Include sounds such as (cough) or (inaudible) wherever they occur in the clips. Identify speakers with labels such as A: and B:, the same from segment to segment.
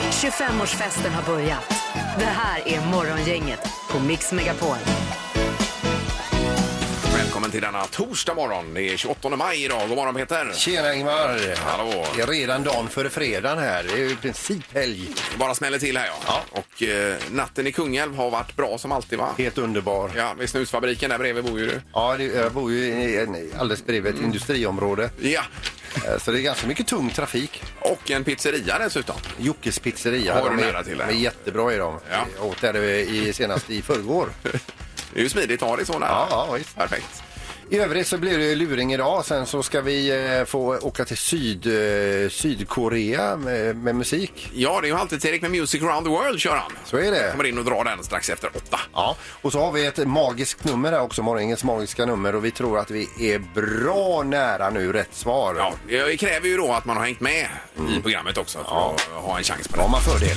A: 25-årsfesten har börjat. Det här är Morgongänget på Mix Megapol.
B: Välkommen till denna torsdag morgon. Det är 28 maj idag. God morgon Peter!
C: Tjena Ingmar!
B: Hallå.
C: Det är redan dagen före fredagen här. Det är ju i princip helg.
B: Det bara smäller till här ja. Och eh, natten i Kungälv har varit bra som alltid va?
C: Helt underbar. Ja,
B: Ja, vid snusfabriken där bredvid bor ju du.
C: det, jag bor ju i en, alldeles bredvid ett industriområde.
B: Ja,
C: Eh, Så det är ganska mycket tung trafik.
B: och en pizzeria dessutom.
C: Jockes pizzeria.
B: Har du
C: de är,
B: nära till det?
C: de är jättebra i dem.
B: Ja.
C: Jag åt där i, senast
B: (laughs)
C: i förrgår.
B: Det är ju smidigt att ha det så nära.
C: Ja, ja, visst.
B: Perfekt.
C: I övrigt så blir det luring idag. Sen så ska vi eh, få åka till syd, eh, Sydkorea med, med musik.
B: Ja, det är ju alltid Erik med Music Around the World kör han.
C: Så är det.
B: Kommer in och drar den strax efter åtta.
C: Ja, och så har vi ett magiskt nummer här också, morgonens magiska nummer och vi tror att vi är bra nära nu rätt svar.
B: Ja, det kräver ju då att man har hängt med i programmet också för att ha en chans på
C: Då
B: det.
C: Mm. har man fördel.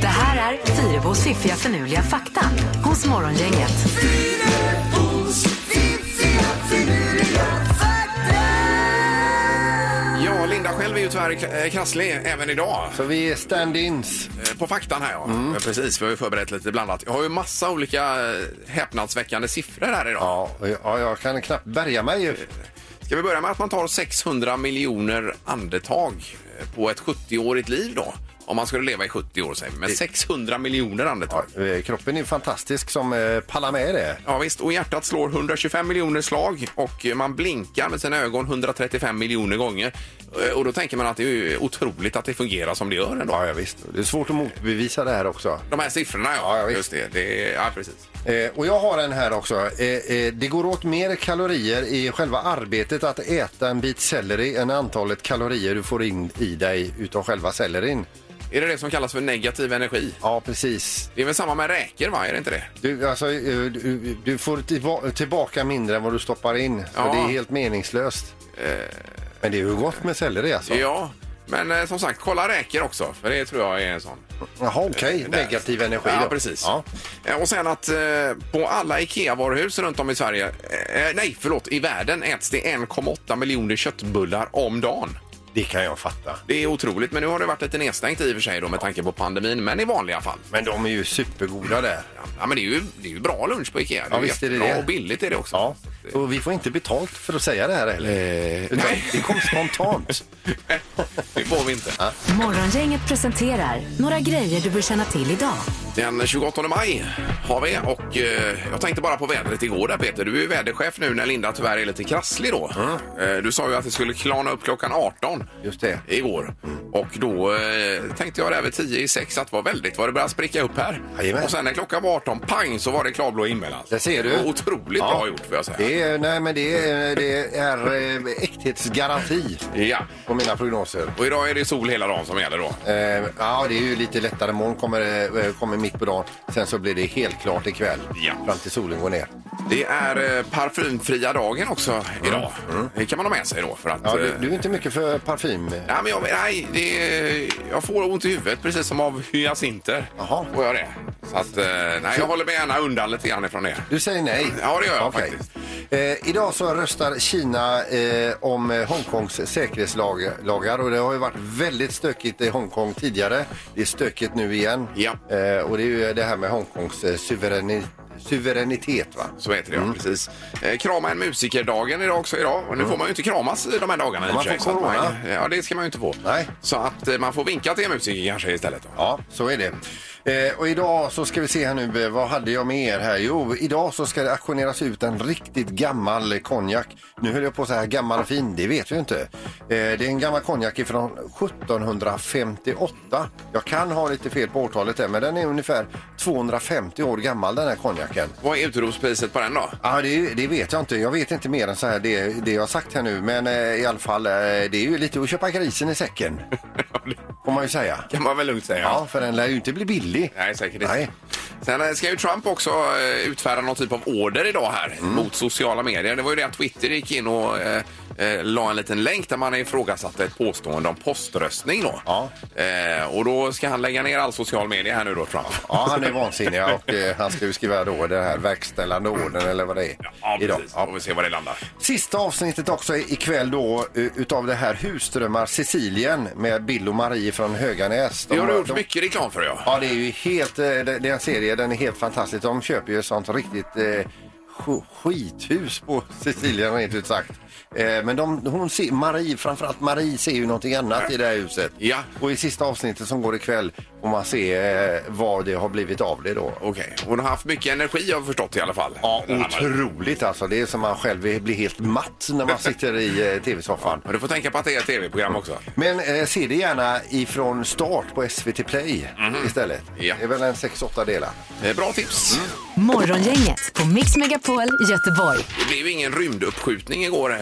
A: Det här är Fyrebos fiffiga förnuliga fakta hos Morgongänget.
B: Ja, Linda själv är ju tyvärr eh, krasslig även idag.
C: Så vi är stand-ins.
B: Eh, På faktan här ja.
C: Mm.
B: ja. Precis, vi har ju förberett lite blandat. Jag har ju massa olika eh, häpnadsväckande siffror här idag.
C: Ja, och jag- ja, jag kan knappt bärga mig.
B: Ska vi börja med att man tar 600 miljoner andetag eh, på ett 70-årigt liv då? Om man skulle leva i 70 år säger vi. Men 600 miljoner andetag.
C: Ja, eh, kroppen är fantastisk som eh, pallar med det.
B: Ja visst, och hjärtat slår 125 miljoner slag och eh, man blinkar med sina ögon 135 miljoner gånger. Eh, Och då tänker man att det är ju otroligt att det fungerar som det gör ändå.
C: Ja, ja, visst. Det är svårt att motbevisa det här också.
B: De här siffrorna ja,
C: Ja, ja, visst.
B: just det. det är, ja, precis.
C: Eh, och jag har en här också. Eh, eh, det går åt mer kalorier i själva arbetet att äta en bit selleri än antalet kalorier du får in i dig utav själva sellerin.
B: Är det det som kallas för negativ energi?
C: Ja, precis.
B: Det är väl samma med räkor va, är det inte det?
C: Du, alltså, eh, du, du får tillba- tillbaka mindre än vad du stoppar in. Så
B: Ja. Eh.
C: det är helt meningslöst. Men det är ju gott med selleri alltså.
B: Ja, men eh, som sagt, kolla räkor också, för det tror jag är en sån.
C: Jaha, okej.
B: Eh,
C: Negativ energi
B: Ja,
C: då.
B: precis.
C: Ja.
B: Eh, Och sen att eh, på alla IKEA-varuhus runt om i Sverige, eh, nej förlåt, i världen äts det 1,8 miljoner köttbullar om dagen.
C: Det kan jag fatta.
B: Det är otroligt, men nu har det varit lite nedstängt i och för sig då med tanke på pandemin, men i vanliga fall.
C: Men de är ju supergoda där.
B: Ja, men det är ju, det är ju bra lunch på IKEA.
C: Ja, visst är det
B: bra
C: det.
B: och billigt är det också.
C: Ja. Och vi får inte betalt för att säga det här heller. Utan
B: Eh, nej.
C: Det kom
B: (laughs)
C: spontant.
B: eh, Det får vi inte.
A: Morgongänget presenterar några grejer du bör känna till idag.
B: Den 28 maj har vi och eh, jag tänkte bara på vädret igår där Peter. Du är ju väderchef nu när Linda tyvärr är lite krasslig då. Eh, du sa ju att det skulle klarna upp klockan 18
C: Just Mm. det.
B: igår. Och då eh, tänkte jag där vid 10 i 6 att det var väldigt vad det började spricka upp här.
C: Jajamän.
B: Och sen när klockan var 18, pang, så var det klarblå himmel alltså.
C: Det ser du.
B: Det var Otroligt
C: Ja.
B: bra gjort får jag säga.
C: Det är, nej, men det är, det är eh, äkthetsgaranti
B: Ja.
C: på mina prognoser.
B: Och idag är det sol hela dagen som gäller då.
C: Eh, ja, det är ju lite lättare. Moln kommer, eh, kommer mitt på dagen. Sen så blir det helt klart ikväll.
B: Ja.
C: Fram till solen går ner.
B: Det är eh, parfymfria dagen också idag. Det kan man ha med sig då för att...
C: Mm. Ja, du,
B: eh,
C: du är inte mycket för parfym.
B: Ja, men jag, nej, det, jag får ont i huvudet precis som av hyacinter.
C: Jaha.
B: Får jag det. Så att, eh, nej, jag håller mig gärna undan lite grann ifrån det.
C: Du säger nej?
B: Ja, det gör jag
C: Okej.
B: faktiskt.
C: Eh, idag så röstar Kina eh, om eh, Hongkongs säkerhetslagar och det har ju varit väldigt stökigt i Hongkong tidigare. Det är stökigt nu igen.
B: Ja.
C: Eh, och det är ju det här med Hongkongs eh, suveräni- suveränitet. Va?
B: Så heter det,
C: Mm.
B: ja, precis. Eh, krama en musikerdagen idag också idag. Och nu får man ju inte kramas de här dagarna i och
C: Man
B: för sig,
C: får
B: så att man-
C: corona.
B: Ja, det ska man ju inte få.
C: Nej.
B: Så att eh, man får vinka till en musiker kanske istället. Då.
C: Ja, så är det. Eh, och idag så ska vi se här nu, eh, vad hade jag med er här? Jo, idag så ska det auktioneras ut en riktigt gammal konjak. Nu höll jag på så här gammal och fin, det vet vi ju inte. Eh, det är en gammal konjak ifrån 1758. Jag kan ha lite fel på årtalet där, men den är ungefär 250 år gammal den här konjaken.
B: Vad är utropspriset på den då?
C: Ja, det, det vet jag inte. Jag vet inte mer än så här det, det jag har sagt här nu. Men eh, i alla fall, eh, det är ju lite att köpa grisen i säcken. Får man ju säga.
B: kan man väl lugnt säga.
C: Ja, för den lär ju inte bli billig.
B: Nej, säkert
C: Nej.
B: inte. Sen eh, ska ju Trump också
C: Mm.
B: eh, utfärda någon typ av order idag här mot sociala medier. Det var ju det att Twitter gick in och eh, eh, la en liten länk där man ifrågasatte ett påstående om poströstning. Då.
C: Ja.
B: Eh, och då ska han lägga ner all social media här nu då, Trump.
C: Ja, han är vansinnig och eh, han ska ju skriva då den här verkställande orden eller vad det är.
B: Ja,
C: idag.
B: precis. Får vi se var det landar.
C: Sista avsnittet också i- ikväll då eh, utav det här Husdrömmar Sicilien med Bill och Marie från Höganäs.
B: Det har du gjort
C: de,
B: mycket reklam för, ja.
C: Ja, det är ju helt, eh, det, det är en serie, den är helt fantastisk. De köper ju sånt riktigt eh, sk- skithus på (laughs) Sicilien rent ut sagt. Eh, men de, hon ser, Marie, framförallt Marie ser ju någonting annat i det här huset.
B: Ja.
C: Och i sista avsnittet som går ikväll får man se eh, vad det har blivit av det då.
B: Okej, hon har haft mycket energi har vi förstått i alla fall.
C: Ja,
B: Den här mannen.
C: otroligt alltså. Det är som man själv blir helt matt när man sitter i eh, tv-soffan.
B: Men Du får tänka på att det är ett tv-program också.
C: Men eh, se det gärna ifrån start på SVT Play istället.
B: Mhm. Ja.
C: Det är väl en 6-8 delar.
B: Eh, Bra tips!
C: Mm.
A: Morgongänget på Mix Megapol Göteborg.
B: Det blev ju ingen rymduppskjutning igår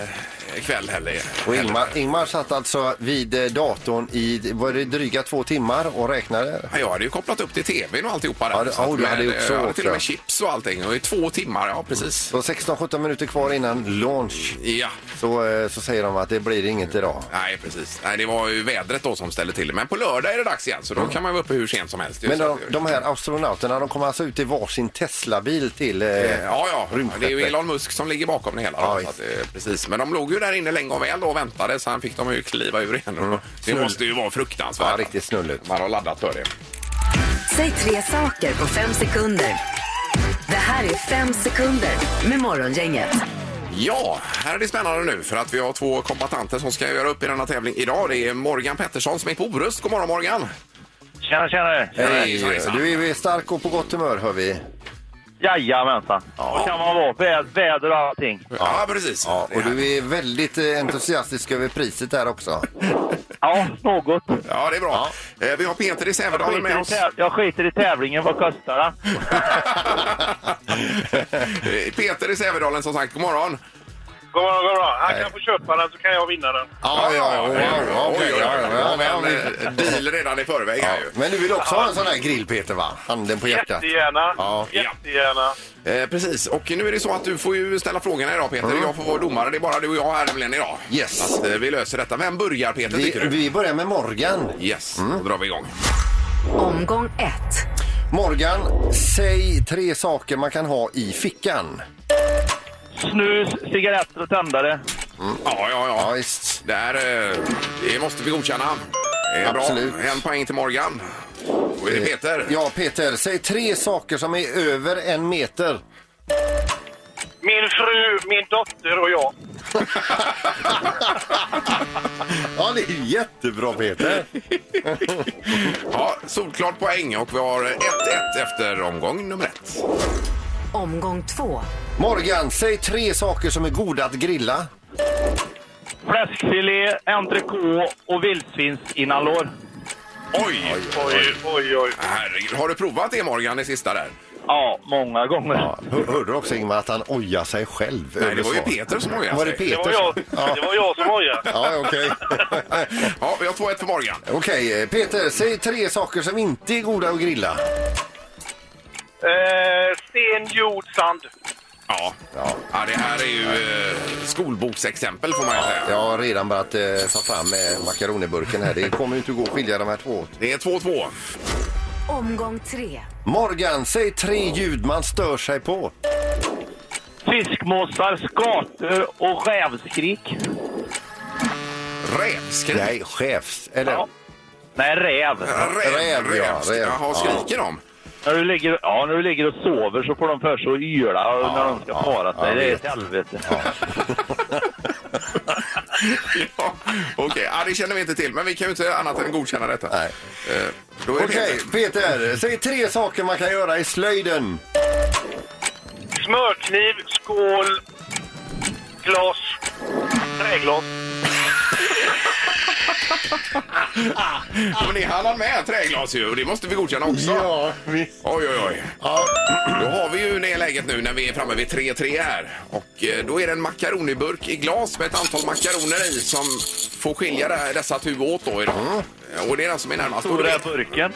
B: eh, kväll heller.
C: Och Ingmar, Ingmar satt alltså vid eh, datorn i var det dryga två timmar och räknade.
B: Ja, jag hade ju kopplat upp till tvn och alltihopa där.
C: Ja, det-
B: Så att
C: ja, du hade
B: med-
C: gjort så
B: jag hade
C: också.
B: till och med chips och allting. Och i två timmar, ja precis.
C: Så 16-17 minuter kvar innan launch
B: Ja,
C: så, eh, så säger de att det blir inget idag.
B: nej precis. Nej, det var ju vädret då som ställde till det. Men på lördag är det dags igen så då kan man vara uppe hur sent som helst.
C: Mm. Men
B: Så
C: de,
B: att-
C: de här astronauterna de kommer alltså ut i varsin Tesla-bil till eh,
B: Ja, ja. Det är ju
C: rymdskeppet.
B: Elon Musk som ligger bakom det hela. Då,
C: Ja,
B: så
C: visst.
B: att, eh, precis. Men de låg ju där inne länge och väl då och väntade så han fick dem ju kliva ur igen. Det
C: Snull.
B: måste ju vara fruktansvärt.
C: Mm. Ja, riktigt snulligt.
B: Man har laddat för det.
A: Säg tre saker på fem sekunder. Det här är fem sekunder med Morgongänget.
B: Ja, här är det spännande nu för att vi har två kombatanter som ska göra upp i denna tävling idag. Det är Morgan Pettersson som är på Orust. God morgon Morgan!
D: Tjena, tjena!
B: Hejsan,
C: Hej,
B: hejsan.
C: du är stark och på gott humör hör vi.
D: Jajamensan! Så kan man vara. Vä- Väder och allting.
B: Ja, precis.
C: Ja,
B: Det
C: och
B: är här.
C: du är väldigt eh, entusiastisk över priset där också.
D: Ja, något.
B: ja det är bra. Eh, Vi har Peter i
D: Jag
B: Sävedalen med
D: skiter, i
B: oss.
D: täv- jag skiter i tävlingen. Vad kostar det?
B: Eh, (laughs) Peter i Sävedalen som sagt, god morgon!
E: God morgon, god morgon. Han kan få köpa den så kan jag vinna den.
C: Ja,
B: Oj, oj, oj.
C: ja,
B: Det var
C: ja,
B: väl, eh, Deal redan i förväg här ju.
C: Men du vill också ha en sån här grill Peter va? Handen på hjärtat.
E: Jättegärna.
C: Ja.
E: Jättegärna.
B: Eh, precis, och nu är det så att du får ju ställa frågorna idag Peter. Jag får vara domare, det är bara du och jag här nämligen idag.
C: Mm. Yes.
B: Så Att, eh, vi löser detta. Vem börjar Peter
C: Vi,
B: tycker du?
C: vi Mm. börjar med Morgan.
B: Yes, då drar vi igång.
A: Omgång ett.
C: Morgan, säg tre saker man kan ha i fickan.
D: Snus, cigaretter och tändare.
B: Ja, ja, ja.
C: Ja, visst.
B: Där, eh, det måste vi godkänna. Det är
C: Absolut. Eh,
B: Bra. En poäng till Morgan. Då är det Peter.
C: Ja, Peter, säg tre saker som är över en meter.
E: Min fru, min dotter och jag.
C: Ja, det är jättebra Peter.
B: Ja, solklart poäng och vi har 1-1 efter omgång nummer ett.
A: Omgång två.
C: Morgan, säg tre saker som är goda att grilla.
D: Fläskfilé, entrecote och vildsvinsinnanlår.
B: Oj!
E: Oj, oj, oj.
B: Herregud. Har du provat det Morgan, det sista där?
D: Ja, många gånger.
C: Hör, hörde du också Ingmar att han ojar sig själv?
B: Nej,
C: över
B: det var ju
C: svar?
B: Peter som ojade
C: Var det
B: sig.
E: Det
C: Peter?
E: var jag,
C: Ja.
E: det var jag som ojade.
C: Ja, okej.
B: Ja, vi har 2-1 för Morgan.
C: (laughs) okej, eh, Peter, säg tre saker som inte är goda att grilla.
E: Eh, sten, jord, sand.
B: Ja. ja. det här är ju eh, skolboksexempel får man ju säga.
C: Jag har redan börjat eh, ta fram eh, makaroniburken här. Det kommer ju inte att gå att skilja de här två åt.
B: Det är 2-2.
A: Omgång tre.
C: Morgan, säg tre ljud man stör sig på.
D: Fiskmåsar, skator och rävskrik.
B: Rävskrik.
C: Nej, chefs... Eller?
D: Ja. Nej, räv.
C: Räv, ja,
B: rävskrik.
C: räv.
B: Jaha, skriker de?
D: När du, ligger, ja, när du ligger och sover så får de för sig att yla när de ska para sig.
C: jag
D: det är
C: vet.
D: ett helvete.
B: Ja, Okej, ja, det känner vi inte till, men vi kan ju inte annat än godkänna detta.
C: Nej.
B: Eh, Då är det
C: Okej,
B: Peter.
C: Peter, säg tre saker man kan göra i slöjden.
E: Smörkniv, skål, glas, träglas.
B: Ja, men det hann han med, träglas ju, och det måste vi godkänna också.
C: visst.
B: Oj, oj, oj. Då har vi ju det läget nu när vi är framme vid 3-3 här. Och eh, då är det en makaroniburk i glas med ett antal makaroner i som får skilja det- dessa tu åt då idag. Eh, Och det är den som är närmast. Och
D: Stora
B: det,
D: burken.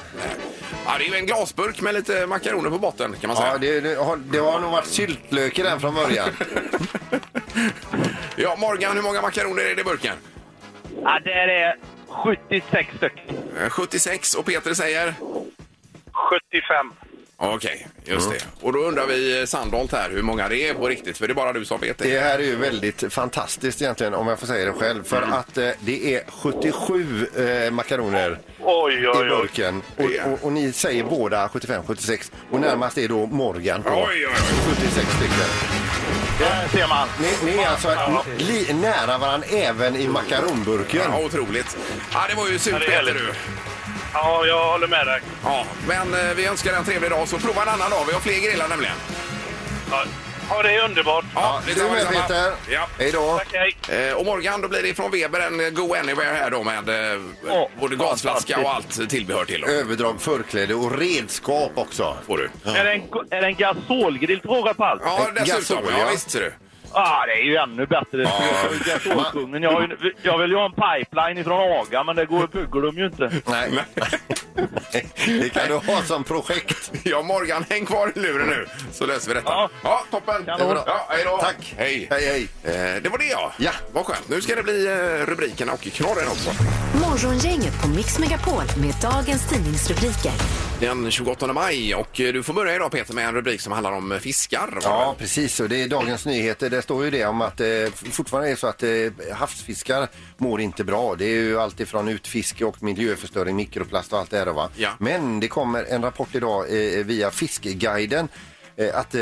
B: ja, det är ju en glasburk med lite makaroner på botten kan man säga.
C: Ja, det, det, har, det har nog varit syltlök i den från början.
B: Ja, Morgan, hur många makaroner är det i burken?
D: Ja, det är 76 stycken.
B: Eh, 76 och Peter säger?
E: 75.
B: Okej, just det. Och då undrar vi eh, Sandholt här hur många det är på riktigt, för det är bara du som vet det.
C: Det här är ju väldigt fantastiskt egentligen om jag får säga det själv. För
B: Mm.
C: att eh, det är 77 eh, makaroner
E: Oj,
C: i
E: oj, oj.
C: burken. Och, och, och ni säger båda 75-76. Och närmast är då Morgan på
B: Oj, oj, oj.
C: 76 stycken.
D: Där ser man.
C: Ni, ni är alltså li, nära varandra även i makaronburken.
B: Ja, otroligt. Ja, det var ju surt,
E: Ja, det är
B: Peter.
E: härligt.
B: Du.
E: Ja, jag håller med dig.
B: Ja, men eh, vi önskar dig en trevlig dag, så prova en annan dag. Vi har fler grillar nämligen.
E: Ja, ja, det är underbart.
B: Ja,
C: Du
B: detsamma,
C: med
B: detsamma.
C: Peter.
B: Ja.
C: Hej då.
E: Tack, hej.
B: Eh, Och Morgan, då blir det från Weber en eh, Go Anywhere här då med eh,
D: Ja,
B: både gasflaska och allt tillbehör
C: Eh,
B: till. Då.
C: Överdrag, förkläde och redskap också.
B: Får du.
D: Är det en, är det en gasolgrill till råga på allt?
B: Ja,
C: Eh,
B: dessutom.
C: gasol,
B: Ja,
C: ja.
B: visst ser du.
D: Ah, det är ju ännu bättre. Gasolkungen. Jag, har ju- jag vill ju ha en pipeline ifrån Haga, men det går, bygger de ju inte.
C: Nej. det kan du ha som projekt.
B: (laughs) Ja, Morgan, häng kvar i luren nu så löser vi detta. Ja,
D: Ja.
B: toppen.
D: Kanon.
B: Det är bra. Ja, hej då.
C: Tack.
B: Hej.
C: Hej, hej.
B: Eh, Det var det ja.
C: Ja.
B: Vad skönt. Nu ska det bli eh, rubrikerna och knorren också.
A: Morgongänget på Mix Megapol med dagens tidningsrubriker.
B: Den 28 maj och eh, du får börja idag Peter med en rubrik som handlar om eh, fiskar. var det
C: Ja,
B: väl?
C: precis. Och det är Dagens Nyheter. Det står ju det om att eh, fortfarande är så att eh, havsfiskar mår inte bra. Det är ju alltifrån utfiske och miljöförstöring, mikroplast och allt det här. då, Va?
B: Ja.
C: Men det kommer en rapport idag eh, via Fiskguiden eh, att eh,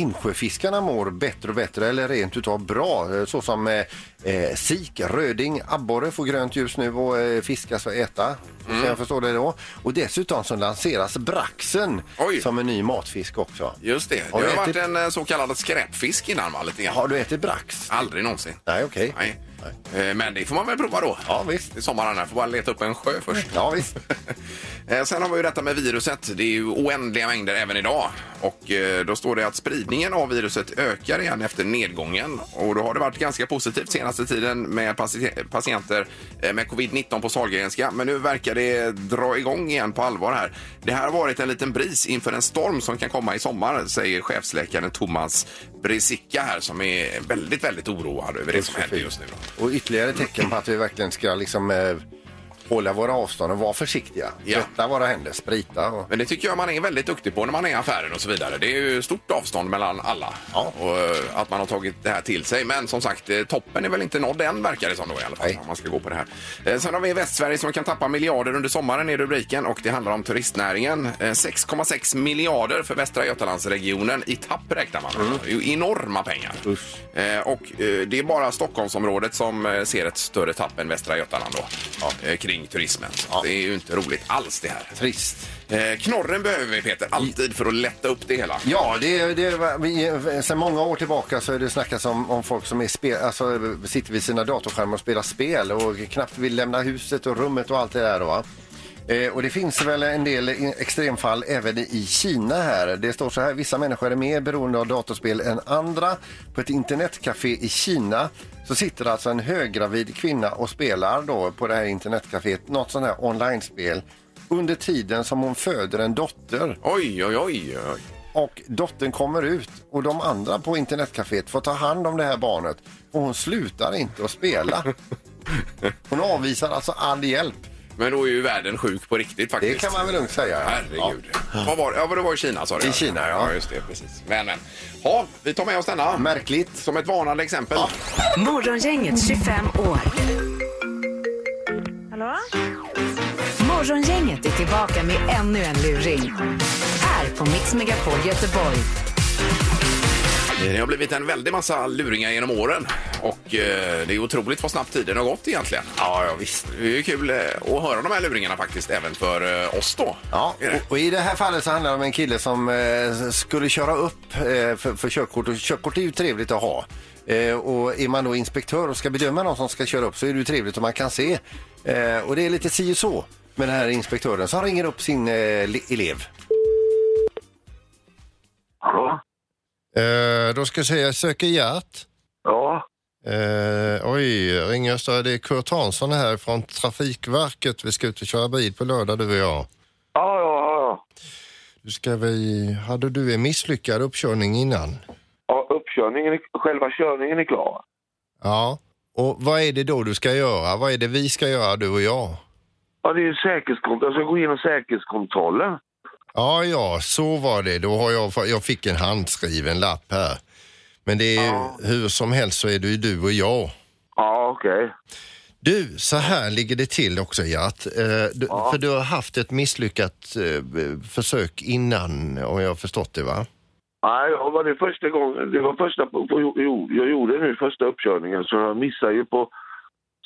C: insjöfiskarna mår bättre och bättre eller rent utav bra. Eh, Så som eh, eh, sik, röding, abborre får grönt ljus nu och eh, fiskas och äta.
B: Mm.
C: Så jag förstår det då. Och dessutom så lanseras braxen
B: Oj.
C: som en ny matfisk också.
B: Just det. Det
C: Har
B: har
C: du
B: ju varit
C: ätit-
B: en eh, så kallad skräpfisk innan va? Lite grann.
C: Har du ätit brax?
B: Aldrig någonsin.
C: Nej, okej.
B: Nej. Eh, Men det får man väl prova då.
C: Ja, visst.
B: Det är sommaren här. Får bara leta upp en sjö först.
C: Ja, visst.
B: (laughs) Eh, Sen har vi ju detta med viruset. Det är ju oändliga mängder även idag. Och eh, då står det att spridningen av viruset ökar igen efter nedgången. Och då har det varit ganska positivt senaste tiden med pati- patienter eh, med covid-19 på Sahlgrenska. Men nu verkar det dra igång igen på allvar här. Det här har varit en liten bris inför en storm som kan komma i sommar, säger chefsläkaren Thomas Bresicka här som är väldigt, väldigt oroad över det som händer just nu. då.
C: Och ytterligare tecken på att vi verkligen ska liksom, eh, hålla våra avstånd och vara försiktiga.
B: Ja.
C: Tvätta våra händer, sprita och...
B: Men det tycker jag man är väldigt duktig på när man är i affären och så vidare. Det är ju stort avstånd mellan alla och eh, att man har tagit det här till sig. Men som sagt, eh, toppen är väl inte nådd än verkar det som då i alla fall.
C: Nej.
B: Om man ska gå på det här. Eh, Sen har vi Västsverige som kan tappa miljarder under sommaren är rubriken och det handlar om turistnäringen. Eh, 6,6 miljarder för Västra Götalandsregionen i tapp räknar man med. Det är ju enorma pengar. Eh, Och eh, det är bara Stockholmsområdet som eh, ser ett större tapp än Västra Götaland då eh, kring turismen. Så Det är ju inte roligt alls det här.
C: Trist.
B: Eh, knorren behöver vi Peter, alltid för att lätta upp det hela.
C: Ja, det, det, vi, sen många år tillbaka så är det snackas om, om folk som är spe, alltså, sitter vid sina datorskärmar och spelar spel och knappt vill lämna huset och rummet och allt det där. Va? Eh, och det finns väl en del i- extremfall även i Kina här. Det står så här, vissa människor är mer beroende av datorspel än andra. På ett internetcafé i Kina så sitter alltså en höggravid kvinna och spelar då på det här internetcaféet något sånt här online-spel under tiden som hon föder en dotter.
B: Oj, oj, oj. oj.
C: Och dottern kommer ut och de andra på internetcaféet får ta hand om det här barnet och hon slutar inte att spela. Hon avvisar alltså all hjälp.
B: Men då är ju världen sjuk på riktigt
C: Det
B: faktiskt.
C: kan man väl lugnt säga.
B: Herregud. Vad var det? Ja, det var i Kina sa du.
C: I
B: ja.
C: Kina, ja.
B: Ja, just det. Precis. Men, men. Ja, vi tar med oss denna.
C: Ja. Märkligt.
B: Som ett varnande exempel.
A: Morgongänget 25 år.
F: Hallå?
A: Morgongänget är tillbaka med ännu en luring. Här på Mix Megapol Göteborg.
B: Det har blivit en väldig massa luringar genom åren. Och eh, det är otroligt vad snabbt tiden har gått egentligen. Ja, ja visst. Det är ju kul eh, att höra de här luringarna faktiskt, även för eh, oss då.
C: Ja,
B: Är det?
C: och, och i det här fallet så handlar det om en kille som eh, skulle köra upp eh, för, för körkort. Och körkort är ju trevligt att ha. Eh, och är man då inspektör och ska bedöma någon som ska köra upp så är det ju trevligt om man kan se. Eh, och det är lite si och så med den här inspektören som ringer upp sin eh, le- elev.
D: Hallå?
G: Eh, då ska jag säga, jag söker hjärt.
D: Ja.
G: Eh, oj, ringer Östra. Det är Kurt Hansson här från Trafikverket. Vi ska ut och köra bil på lördag du och jag.
D: Ja, ja, ja.
G: Du ska vi... Hade du en misslyckad uppkörning innan?
D: ja uppkörningen, själva körningen är klar.
H: Ja. Och vad är det då du ska göra? Vad är det vi ska göra, du och jag?
F: Ja, det är ju säkerhetskontroll. Jag ska gå igenom säkerhetskontrollen.
H: Ja, ja, så var det. Då har jag, jag fick en handskriven lapp här. Men det är, hur som helst så är det ju du och jag.
F: Ja, okej.
H: Du, så här ligger det till också Gert. Eh, du, För du har haft ett misslyckat eh, b- försök innan, om jag har förstått det va?
F: Nej, ja, var det första gången. Det var första på, på, jo, jag gjorde nu första uppkörningen så jag missade ju på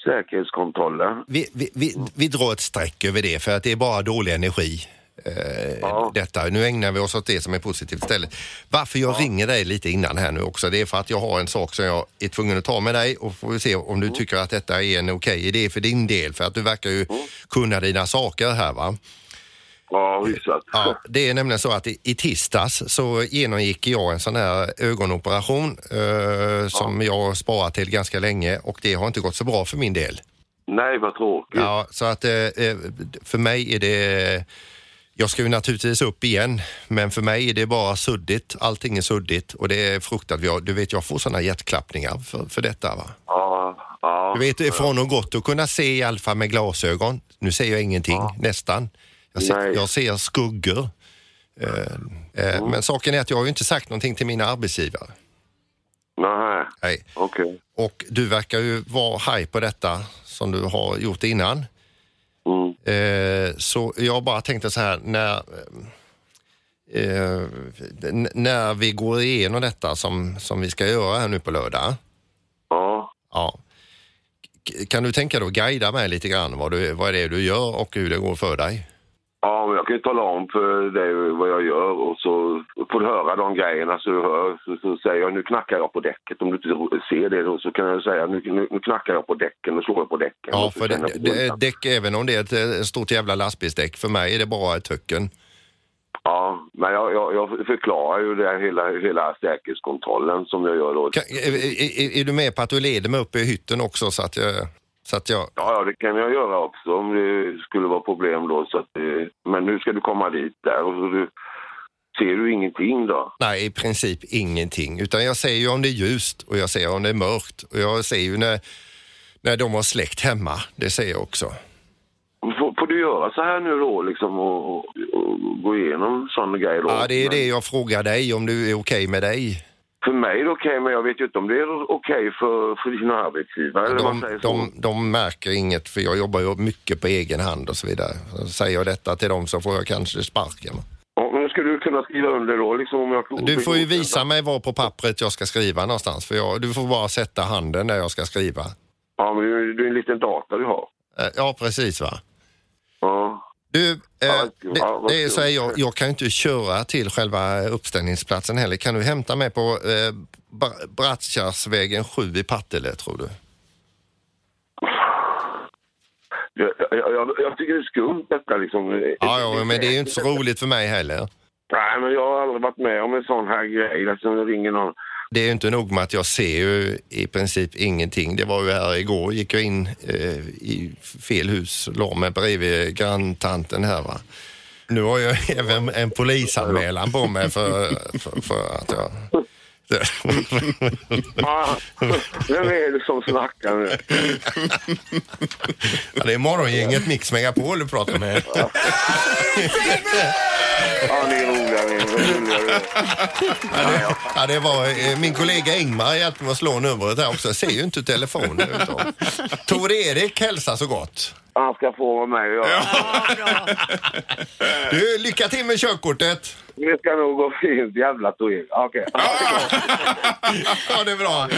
F: säkerhetskontrollen.
H: Vi, vi, vi, vi drar ett streck över det för att det är bara dålig energi. Eh,
F: Ja.
H: detta. Nu ägnar vi oss åt det som är positivt istället. Varför jag ringer dig lite innan här nu också, det är för att jag har en sak som jag är tvungen att ta med dig och får vi se om du tycker att detta är en okej idé för din del. För att du verkar ju kunna dina saker här va.
F: Ja, hyfsat.
H: Ja, det är nämligen så att i, i tisdags så genomgick jag en sån här ögonoperation eh, som jag har sparat till ganska länge och det har inte gått så bra för min del.
F: Nej, vad tråkigt.
H: Ja, så att eh, eh, för mig är det... Jag ska ju naturligtvis upp igen, men för mig är det bara suddigt. Allting är suddigt och det är fruktansvärt. Jag- Du vet, jag får såna hjärtklappningar för, för detta. Va?
F: Ja, ja.
H: Du vet, det är från och gott att kunna se i alla fall med glasögon. Nu ser jag ingenting, nästan. Jag ser,
F: Nej.
H: jag ser skuggor. Eh, eh, Men saken är att jag har ju inte sagt någonting till mina arbetsgivare.
F: Nej,
H: Nej.
F: okej.
H: Och du verkar ju vara haj på detta som du har gjort innan.
F: Mm.
H: Eh, så jag bara tänkte så här, när, eh, n- när vi går igenom detta som, som vi ska göra här nu på lördag.
F: Ja.
H: Ja. K- Kan du tänka dig att guida mig lite grann vad, du, vad det är du gör och hur det går för dig?
F: ja, men jag kan ju tala om för dig vad jag gör och så får du höra de grejerna så du hör. Så, så säger jag nu knackar jag på däcket. Om du inte ser det då så kan jag säga nu, nu, nu knackar jag på däcken och slår jag på däcken.
H: Ja,
F: Och så
H: för det,
F: känner jag på
H: det,
F: olika.
H: däck, även om det är ett eh, stort jävla lastbilsdäck, för mig är det bara ett töcken.
F: Ja, men jag, jag, jag förklarar ju det här hela, hela säkerhetskontrollen som jag gör då.
H: Kan, är, är- är, är du med på att du leder mig upp i hytten också så att jag... Så att jag
F: Ja, ja, det kan jag göra också om det skulle vara problem då. Så att, eh, men nu ska du komma dit där och så du, ser du ingenting då?
H: nej, i princip ingenting. Utan jag ser ju om det är ljust och jag ser om det är mörkt. Och jag ser ju när, när de har släkt hemma. Det ser jag också.
F: Får, får du göra så här nu då liksom och, och, och gå igenom sådana grejer då?
H: Ja, det är
F: Men
H: det jag frågar dig, om du är okej med dig.
F: För mig är det okej, men jag vet ju inte om det är okej för, för dina arbetsgivare. eller man
H: De,
F: säger så.
H: de, de märker inget, för jag jobbar ju mycket på egen hand och så vidare. Så Säger jag detta till dem så får jag kanske sparken.
F: Ja, men skulle du kunna skriva under då liksom om jag...
H: Du får ju visa mig var på pappret jag ska skriva någonstans. För jag, du får bara sätta handen där jag ska skriva.
F: Ja, men du, du är en liten data du har.
H: Eh, Ja, precis va.
F: Ja.
H: Du, eh,
F: Ja,
H: det,
F: ja, vad
H: det är
F: kul.
H: så här, jag, jag kan ju inte köra till själva uppställningsplatsen heller. Kan du hämta mig på eh, Bra- Brattkärrsvägen 7 i Partille, tror du?
F: Jag, jag, jag, jag tycker det är skumt detta liksom.
H: Ja, ja, men det är ju inte så roligt för mig heller.
F: Nej, men jag har aldrig varit med om en sån här grej. Alltså, det ringer någon.
H: Det är ju inte nog med att jag ser ju i princip ingenting. Det var ju här igår, gick jag in eh, i fel hus, la mig bredvid granntanten här va. Nu har jag (laughs) även en polisanmälan på mig för, för, för att jag... (laughs)
F: Ah, vem är det som snackar nu?
H: Ja, det är morgongänget Mix Megapol du pratar med.
F: Ja, ni är roliga. Ni är roliga.
H: Ja, det var, eh, min kollega Ingmar hjälpte mig att slå numret här också. Jag ser ju inte telefonen. överhuvudtaget. Tor-Erik hälsar så gott.
F: Han ska få vara med och göra.
H: Du, lycka till med körkortet. (laughs)
F: Det ska nog gå fint. Jävla Tor-Erik. Okej. Okay.
H: Ja, det är bra.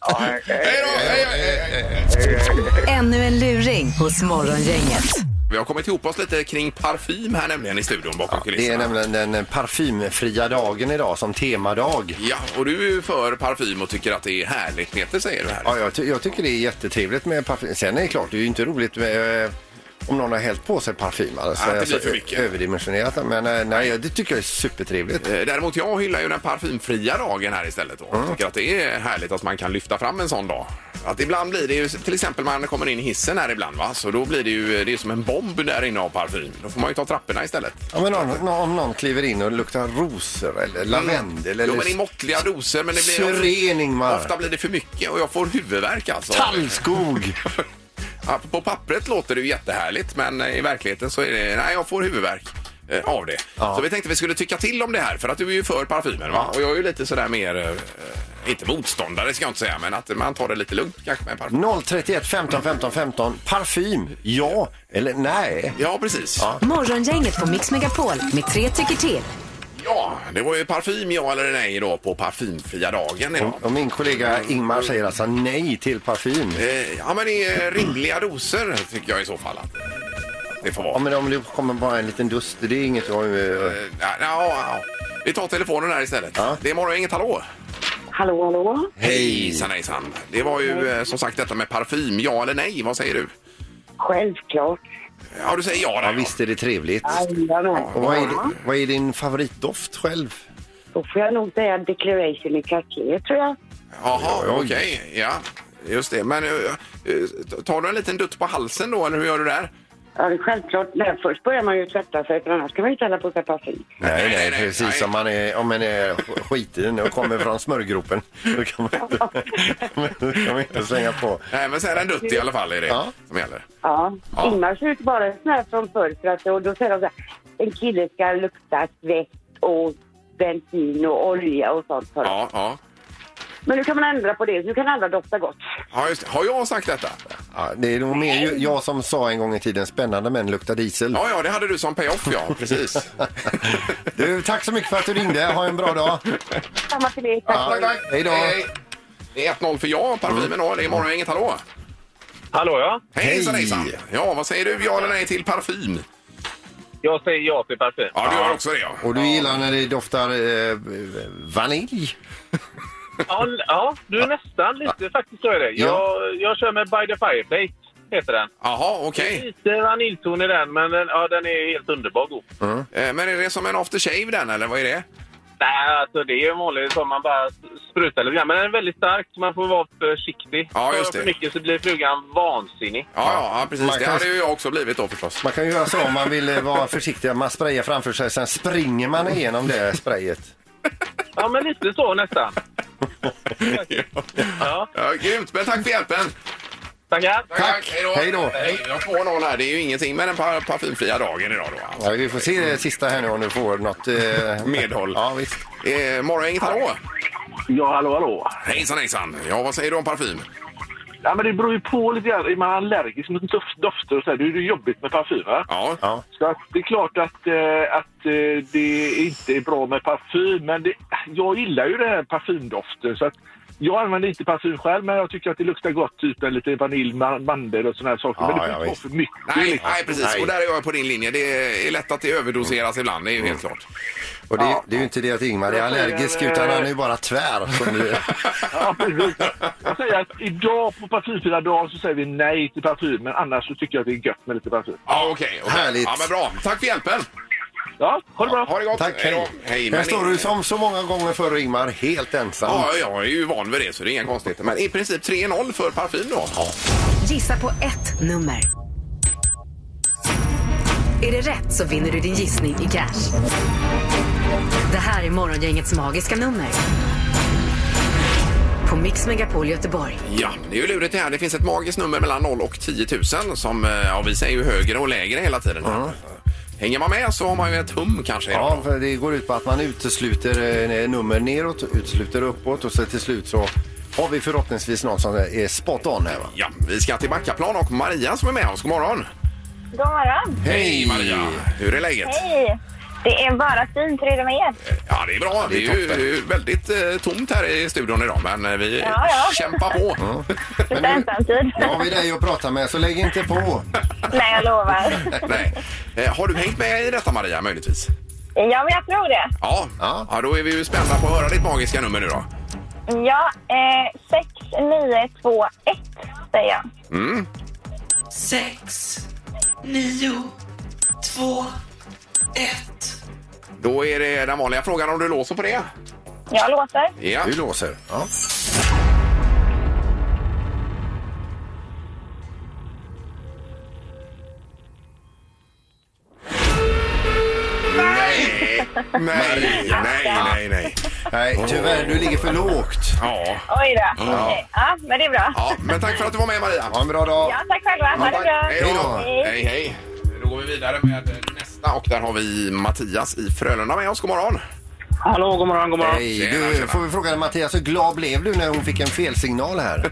F: Ja, hej, hej.
B: Hej då! Hej, hej, hej.
A: Ännu en luring hos Morgongänget.
B: Vi har kommit ihop oss lite kring parfym här nämligen i studion bakom
C: Det är
B: kulisserna.
C: nämligen den parfymfria dagen idag som temadag.
B: Ja, och du är ju för parfym och tycker att det är härligt. Peter säger du här.
C: Ja, jag, ty- jag tycker det är jättetrevligt med parfym. Sen är det klart, det är ju inte roligt med eh, om någon har hällt på sig parfym. Alltså,
B: Ja, att det blir för mycket.
C: ö- Överdimensionerat. Men eh, nej, det tycker jag är supertrevligt.
B: Eh, Däremot jag hyllar ju den parfymfria dagen här istället. Då. Jag tycker att det är härligt att man kan lyfta fram en sån dag. Att ibland blir det ju, till exempel man kommer in i hissen här ibland va, så då blir det ju det är som en bomb där inne av parfym. Då får man ju ta trapporna istället.
C: Ja, men om, nå- om någon kliver in och luktar rosor eller lavendel
B: Mm. Jo men i
C: eller
B: måttliga doser men det blir
C: Syrening, man.
B: ofta blir det för mycket och jag får huvudvärk alltså.
C: tallskog.
B: Ja, på pappret låter det ju jättehärligt men eh, i verkligheten så är det, nej jag får huvudvärk eh, av det.
C: Ja.
B: Så vi tänkte vi skulle tycka till om det här för att du är ju för parfymen va? Och jag är ju lite sådär mer, eh, inte motståndare ska jag inte säga men att man tar det lite lugnt kanske med parfym.
C: 031 15 15 15. Parfym, ja eller nej?
B: Ja precis. Ja.
A: Morgongänget på Mix Megapol med tre tycker till.
B: det var ju parfym ja eller nej då på parfymfria dagen idag.
C: Och min kollega Ingmar säger alltså nej till parfym.
B: Eh, Ja men i eh, rimliga doser tycker jag i så fall att att det får vara.
C: Ja, men om det kommer bara en liten dust, det är inget... Oj, eh,
B: Eh, Ja, ja, ja. Vi tar telefonen här istället.
C: Ja.
B: Det är morgon, inget hallå?
I: Hallå, hallå.
B: Hejsan, hejsan. Det var ju eh, som sagt detta med parfym. Ja eller nej? Vad säger du?
I: Självklart.
B: Ja, du säger ja. Där,
C: Ja, visst är det trevligt.
I: Jajamän.
C: Och vad, är, vad är din favoritdoft själv?
I: Då får jag nog säga Declaration i Cartier, tror jag.
B: Jaha,
C: Oj, oj.
B: okej. Ja, just det. Men eh, eh, tar du en liten dutt på halsen då, eller hur gör du där?
I: Ja, det är självklart. Nej, först börjar man ju tvätta sig, för annars kan man ju inte hälla på sig parfym.
C: Nej, nej,
B: nej, nej,
C: precis.
B: nej.
C: Om man är, om man är sk- skiten och kommer från smörgropen då kan man inte, då kan man inte slänga på.
B: Nej, men sen en dutt i alla fall är det
C: Ja.
B: som gäller.
I: Ja.
B: Ja.
I: Ingmar ser ut bara sån här från förr, för att, och då säger de så här, en kille ska lukta svett och bensin och olja och sånt. för dem."
B: Ja, ja.
I: Men nu kan man ändra på det, så nu kan alla dofta gott.
B: ja just det. Har jag sagt detta?
C: Ja, det är nog mer ju- jag som sa en gång i tiden spännande män luktar diesel.
B: Ja, ja, det hade du som payoff, ja. (laughs) Precis.
C: Du, tack så mycket för att du ringde. Ha en bra dag.
I: Samma till er, tack.
C: Ja. Hej då.
B: Det är 1-0 för ja, parfymen då. Det är morgon, inget hallå?
E: Hallå ja?
B: Hejsan,
C: Hej.
B: hejsan. Ja, vad säger du? Ja eller nej till parfym?
E: Jag säger ja till parfym.
B: Ja, du gör också det, ja.
C: Och du gillar när det doftar eh, vanilj?
E: Ja, n- ja du är nästan lite faktiskt gör jag det. Jag, jag kör med By the Fireplace, heter den.
B: Jaha, okej.
E: Lite vaniljton i den, men den, ja, den är helt underbar god.
B: Eh, Men är det som en aftershave den eller vad är det?
E: Nej, alltså det är ju en vanlig som man bara sprutar lite grann. Men den är väldigt stark, så man får vara försiktig.
B: Ja, just
E: För-
B: det.
E: För mycket så blir frugan vansinnig.
B: Ja, ja, ja precis.
C: Man
B: Det
C: kan-
B: hade ju jag också blivit då förstås.
C: Man kan ju göra så om man vill eh, vara försiktig. Man sprayar framför sig, sen springer man igenom det sprayet.
E: Ja, men lite
B: (laughs)
E: så nästan. Ja,
B: Ja, grymt, men tack för hjälpen!
E: tackar.
C: Tack. Hej då.
B: Hej, Vi har 2-0 här. Det är ju ingenting med den par- parfymfria dagen idag då. Alltså.
C: Ja, vi får se det sista här nu om du får något... Eh...
B: Medhåll.
C: Ja, visst.
B: Eh, Morgongänget, hallå!
D: Ja, hallå, hallå.
B: Hejsan hejsan! Ja, vad säger du om parfym?
D: Ja, men det beror ju på lite grann. Är man allergisk mot doft- dofter och så här, då är det ju jobbigt med parfym, va?
B: Ja.
C: Ja.
D: Så att det är klart att, eh, att eh, det inte är bra med parfym, men det, jag gillar ju den här parfymdoften. Så att jag använder inte parfym själv, men jag tycker att det luktar gott, typ en lite vanilj, ma- mandel och sådana här saker.
C: Ja,
D: men det
C: ja,
D: får inte
C: visst.
D: vara för mycket.
B: Nej,
D: liksom.
B: nej, precis. Och där är jag på din linje. Det är lätt att det överdoseras ibland, det är ju helt
C: Mm.
B: klart.
C: Och det, det är ju inte det att Ingmar är allergisk utan han är ju bara tvär.
B: (laughs)
C: Som du...
D: Ja, precis. jag säger att idag på parfymfria dagen så säger vi nej till parfym, men annars så tycker jag att det är gött med lite parfym.
B: Ja, okej. okej.
C: Härligt.
B: Ja, men bra. Tack för hjälpen!
D: Ja, ha det bra!
B: Ha det gott!
C: Tack,
B: då.
C: hej.
B: hej
C: Här
B: men-
C: står du som så många gånger förr Ingmar, helt ensam.
B: Ja, jag är ju van vid det så det är inga konstigheter. Men i princip 3-0 för parfym då.
A: Gissa på ett nummer. Är det rätt så vinner du din gissning i cash. Det här är Morgongängets magiska nummer. På Mix Megapol Göteborg.
B: Ja, det är ju lurigt det här. Det finns ett magiskt nummer mellan 0 och 10 000 som, eh, ja vi säger ju högre och lägre hela tiden. Hänger man med så har man ju ett hum kanske.
C: Mm. Ja,
B: idag.
C: för det går ut på att man utesluter eh, nummer neråt, utesluter uppåt och så till slut så har vi förhoppningsvis någon som är spot on här va?
B: ja, vi ska till Backaplan och Maria som är med oss. God morgon!
J: God morgon!
B: Hej Maria! Hur är läget?
J: Hej! Det är bara fint. Hur är det med er?
B: Ja, det är bra. Det
C: Det är
B: är, ju väldigt eh, tomt här i studion idag men eh, vi
J: Ja, ja.
B: kämpar på.
J: Lite ensamtid.
C: Nu har vi dig att prata med så lägg inte på.
J: Nej, jag lovar.
B: (laughs) Nej. Eh, Har du hängt med i detta Maria möjligtvis?
J: Ja, men jag tror det.
B: Ja.
C: Ja.
B: ja, då är vi ju spända på att höra ditt magiska nummer nu då.
J: Ja, eh, 6921 säger jag.
B: Mm.
K: Sex, nio, två, ett.
B: Då är det den vanliga frågan om du låser på det.
J: Jag låter.
B: Ja.
C: Du låser. Ja.
B: Nej, nej, nej, nej, nej.
C: Nej, tyvärr, du ligger för lågt.
B: Ja.
J: Oj då. Okej. Ja, men det är bra.
B: ja, men tack för att du var med Maria.
C: Ha en bra dag.
J: Ja, tack själva. Ha det bra.
B: Hej då.
J: Hej.
B: Hej, hej. Då går vi vidare med nästa och där har vi Mattias i Frölunda med oss. God morgon.
E: Hallå, god morgon, god morgon.
C: Hej,
B: Tjena,
C: du,
B: tjena.
C: får vi fråga dig, Mattias, hur glad blev du när hon fick en felsignal här?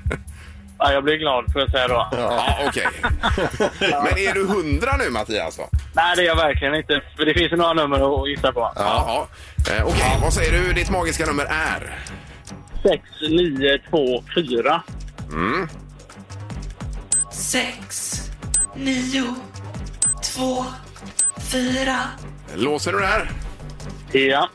E: Ja, jag blir glad för att säga då.
B: Ja, (laughs) okej. Men är du hundra nu Mattias då?
E: Nej, det är jag verkligen inte. För det finns ju några nummer att gissa på.
B: Ja. Eh, Okej, vad säger du ditt magiska nummer är?
E: 6, 9, 2, 4.
K: sex, nio, två, fyra.
B: Låser du det här?
E: Ja.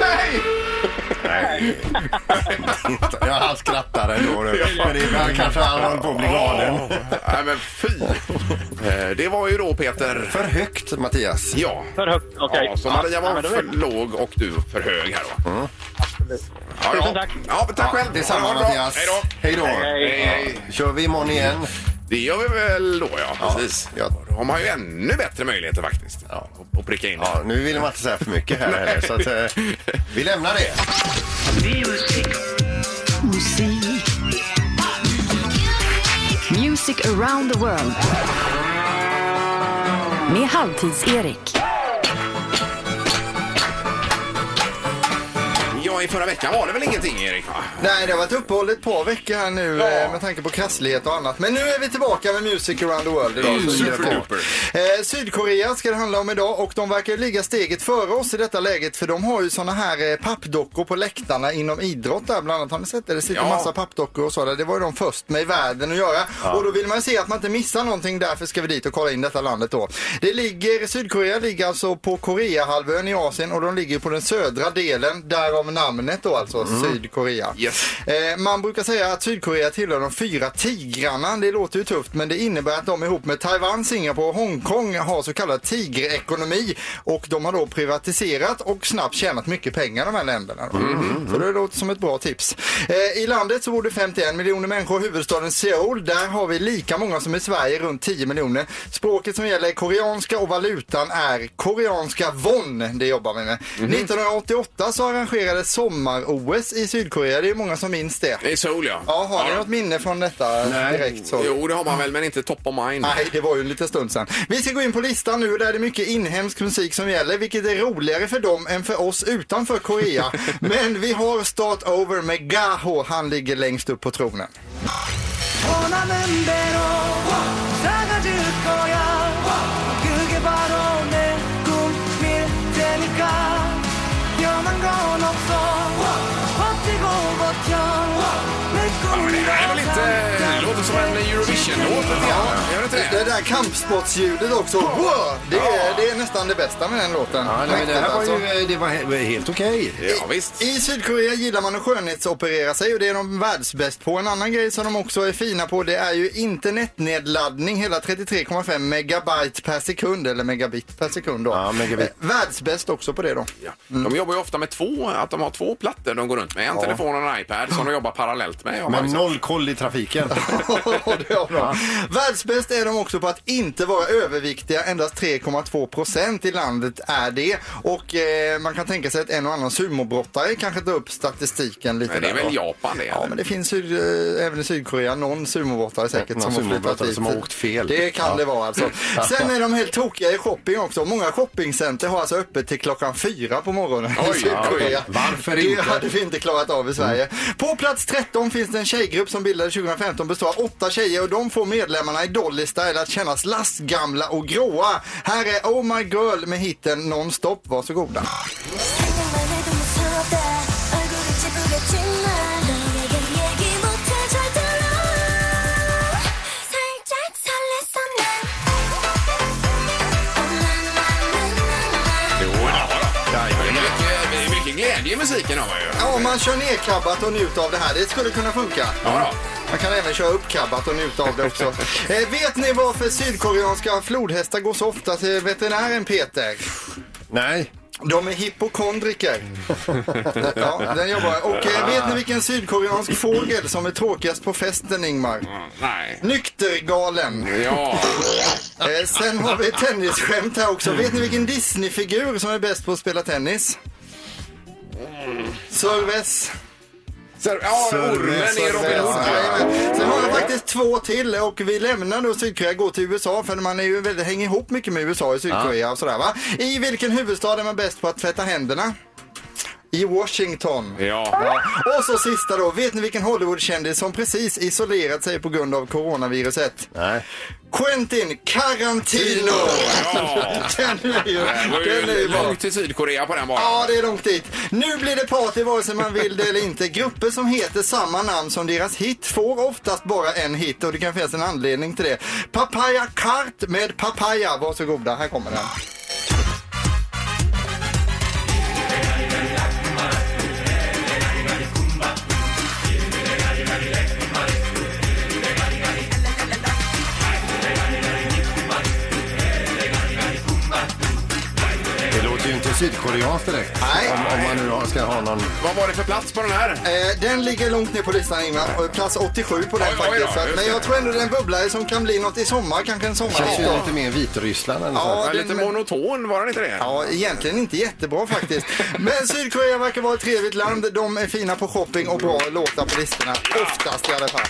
B: Nej!
C: Ja, han skrattar ändå nu. Men det är, kanske han håller på att bli galen.
B: Nej men fy! Eh, Det var ju då Peter...
C: För högt, Mattias.
B: Ja.
E: För högt, okej.
B: Ja, så Maria var
E: men då
B: för
E: vet jag.
B: låg och du för hög här va? Ja, ja.
E: Tusen tack.
B: Ja, men Mm. tack själv.
C: Detsamma,
B: Ha det bra.
C: Mattias.
B: Hej då.
C: Hej då.
E: Hej,
B: Hej, hej.
C: Kör vi imorgon igen?
B: Det gör vi väl då, ja. Precis.
C: Ja.
B: Då har man ju ännu bättre möjligheter faktiskt ja. att pricka in.
C: Ja, nu vill man inte säga för mycket här heller, så att, eh, vi lämnar det.
A: Music around the world. Med Halvtids-Erik.
B: Ja, i förra veckan var det väl ingenting, Erik? Va?
H: Nej, det har varit uppehåll ett par veckor här nu eh, med tanke på krasslighet och annat. Men nu är vi tillbaka med Music around the world idag. så det är bra.
B: Superduper.
H: Eh, Sydkorea ska det handla om idag och de verkar ju ligga steget före oss i detta läget för de har ju såna här eh, pappdockor på läktarna inom idrott där bland annat. Har ni sett det? Det sitter
B: Ja.
H: massa pappdockor och sådär. Det var ju de först med i världen att göra. Och då vill man ju se att man inte missar någonting. Därför ska vi dit och kolla in detta landet då. Det ligger, Sydkorea ligger alltså på Koreahalvön i Asien och de ligger på den södra delen. Därav namnet då alltså, Sydkorea.
B: Yes.
H: Eh, Man brukar säga att Sydkorea tillhör de fyra tigrarna. Det låter ju tufft men det innebär att de ihop med Taiwan, Singapore och Hongkong har så kallad tigerekonomi. Och de har då privatiserat och snabbt tjänat mycket pengar de här länderna. då. Så det låter som ett bra tips. Eh, I landet så bor det 51 miljoner människor. Huvudstaden Seoul, där har vi lika många som i Sverige, runt 10 miljoner. Språket som gäller är koreanska och valutan är koreanska won. Det jobbar vi med.
B: Mhm.
H: 1988 så arrangerades sommar-OS i Sydkorea. Det är ju många som minns det.
B: I Seoul, ja.
H: Ja, har ni
B: Ja.
H: något minne från detta
C: Nej.
H: direkt? Så?
B: Jo, det har man väl, men inte top of mind.
H: Nej, det var ju en liten stund sedan. Vi ska gå in på listan nu. Där är det mycket inhemsk musik som gäller, vilket är roligare för dem än för oss
B: (laughs)
H: utanför Korea. Men vi har Start Over med Gaho. Han ligger längst upp på tronen.
B: Ja, men det här är väl inte... Det låter som en Eurovision-låt lite grann. Gör det inte
H: Det
B: det?
H: där kampsportsljudet också. Wow! Det är, det är nästan det bästa med den låten. alltså.
C: Ja, nej, men det här var ju eh, det var he- helt okej.
B: alltså- Ja, visst.
H: I Sydkorea gillar man att skönhetsoperera sig och det är de världsbäst på. En annan grej som de också är fina på det är ju internetnedladdning, hela 33,5 megabyte per sekund eller megabit per sekund då.
C: Ja, megabit.
H: Eh, Världsbäst också på det då.
B: Ja. De jobbar ju ofta med två, att de har två plattor de går runt med. En telefon och en iPad som de jobbar parallellt med. har man
C: Men
B: ju sett.
C: noll koll i trafiken.
H: det har de. Världsbäst är de också på att inte vara överviktiga. Endast 3,2 procent i landet är det. Och eh, man kan tänka sig att en och annan sumobrottare kanske tar upp statistiken lite
B: Men det är
H: där
B: väl
H: då.
B: Japan det?
H: Ja,
B: eller?
H: men det finns ju eh, även i Sydkorea någon sumobrottare säkert
C: Någon
H: som har flyttat
C: sumobrottare
H: dit.
C: som har åkt fel.
H: Det kan
C: Ja.
H: det vara alltså. Sen är de helt tokiga i shopping också. Många shoppingcenter har alltså öppet till klockan fyra på morgonen
B: Oj,
H: i Sydkorea.
B: ja.
C: Varför
H: det
C: inte? Mm.
H: hade vi inte klarat av i Sverige. På plats 13 finns det en tjejgrupp som bildades 2015 består av åtta tjejer och de får medlemmarna i Dolly Style att kännas lastgamla och gråa. Här är Oh My Girl med hitten Nonstop. Varsågoda.
B: Jo, ja, då. Det är mycket- glädje i musiken har man ju.
H: Ja, man kör ner kabbat och njuter av det här. Det skulle kunna funka. Man kan även köra upp kabbat och njuta av det också. eh, vet ni varför sydkoreanska flodhästar går så ofta till veterinären Peter?
C: Nej.
H: De är hypokondriker. ja, den jobbar. Och eh, vet ni vilken sydkoreansk fågel som är tråkigast på festen, Ingmar?
B: Nej.
H: Nyktergalen.
B: Ja.
H: Eh, Sen har vi ett tennisskämt här också. Vet ni vilken Disney-figur som är bäst på att spela tennis? Sörves.
B: Ja, ormen i Robin Hood.
H: Jajamän. Sen har jag faktiskt två till och vi lämnar då Sydkorea och går till USA för man är ju väldigt, hänger ihop mycket med USA i Sydkorea och sådär va. I vilken huvudstad är man bäst på att tvätta händerna? I Washington.
B: Ja.
H: Och så sista då. Vet ni vilken Hollywoodkändis som precis isolerat sig på grund av coronaviruset?
C: Nej.
H: Quentin Tarantino!
B: Ja.
H: (laughs) Den är ju,
B: Det var
H: den är ju
B: ju
H: bra.
B: långt till Sydkorea på den bara.
H: Ja, det är långt dit. Nu blir det party vare sig man vill det eller inte. Grupper som heter samma namn som deras hit får oftast bara en hit och det kan finnas en anledning till det. Papaya Kart med Papaya. Varsågoda, här kommer den.
C: Det låter ju inte sydkoreanskt direkt.
H: Nej.
C: Om, om man nu har- ska ha någon...
B: Vad var det för plats på den här?
H: Eh, den ligger långt ner på listan Ingmar, och plats 87 på den
B: Oj, oj, oj,
H: faktiskt. Så att-
B: just
H: men
B: det.
H: jag tror ändå den bubblare som kan bli något i sommar, kanske en
C: Känns ju
H: sommarhit.
C: lite mer Vitryssland eller
H: Ja,
C: så.
B: Ja, lite
H: den-
B: monoton, var den inte det?
H: Ja, egentligen inte jättebra faktiskt. Men Sydkorea verkar vara ett trevligt land. De är fina på shopping och bra låtar på listorna. Oftast i alla fall.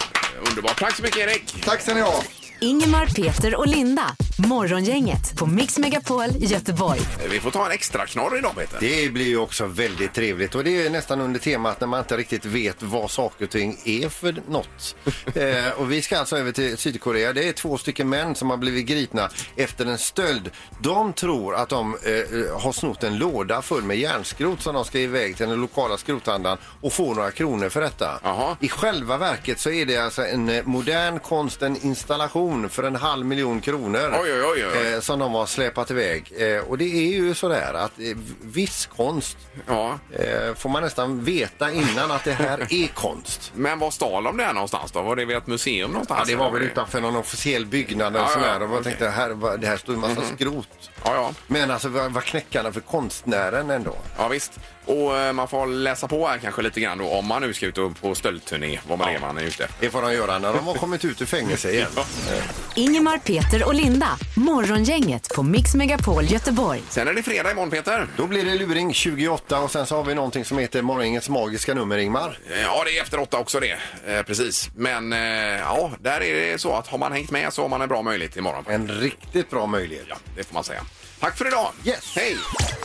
B: Underbart. Tack så mycket Erik.
H: Tack ska ni ha.
A: Ingemar, Peter och Linda. Morgongänget på Mix Megapol Göteborg.
B: Vi får ta en extra knorr idag Peter.
C: Det blir ju också väldigt trevligt och det är nästan under temat när man inte riktigt vet vad saker och ting är för
B: (laughs)
C: något. eh, och vi ska alltså över till Sydkorea. Det är två stycken män som har blivit gripna efter en stöld. De tror att de eh, har snott en låda full med järnskrot som de ska iväg till den lokala skrothandlaren och få några kronor för detta.
B: Jaha.
C: I själva verket så är det alltså en eh, modern konst, en installation för en halv miljon kronor
B: Oj, oj, oj, oj.
C: eh, som de har släpat iväg. Eh, och det är ju sådär att eh, viss konst
B: Ja.
C: eh, får man nästan veta innan att det här är konst.
B: Men var stal de det här någonstans då? Var det vid ett museum någonstans?
C: Ja, det var väl utanför någon officiell byggnad eller
B: Ja, ja,
C: sådär. Och man
B: okej.
C: tänkte här, var- det här stod en massa skrot.
B: Ja, ja.
C: Men alltså vad vad knäckarna för konstnären ändå.
B: Ja, visst. Och eh, man får läsa på här kanske lite grann då om man nu ska ut och- på stöldturné, vad man är man är ute efter.
C: Det får de göra när de har kommit ut ur fängelse (laughs) igen.
A: Ingemar, Peter och Linda. Morgongänget på Mix Megapol Göteborg.
B: Sen är det fredag imorgon Peter.
C: Då blir det luring 28 och sen så har vi någonting som heter Morgongängets magiska nummer, Ingmar.
B: Eh, Ja, det är efter åtta också det. Eh, precis. Men eh, ja, där är det så att har man hängt med så har man en bra möjlighet imorgon.
C: En riktigt bra möjlighet.
B: Ja, det får man säga. Tack för idag!
C: Yes.
B: Hej!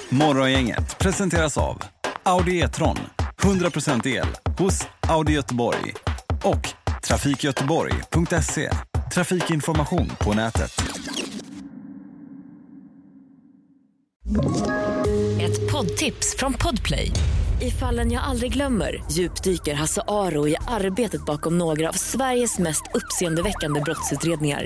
L: Morgongänget presenteras av Audi E-tron. 100% el hos Audi Göteborg. Och trafikgöteborg.se. Trafikinformation på nätet.
M: Ett poddtips från Podplay. I fallen jag aldrig glömmer djupdyker Hasse Aro i arbetet bakom några av Sveriges mest uppseendeväckande brottsutredningar.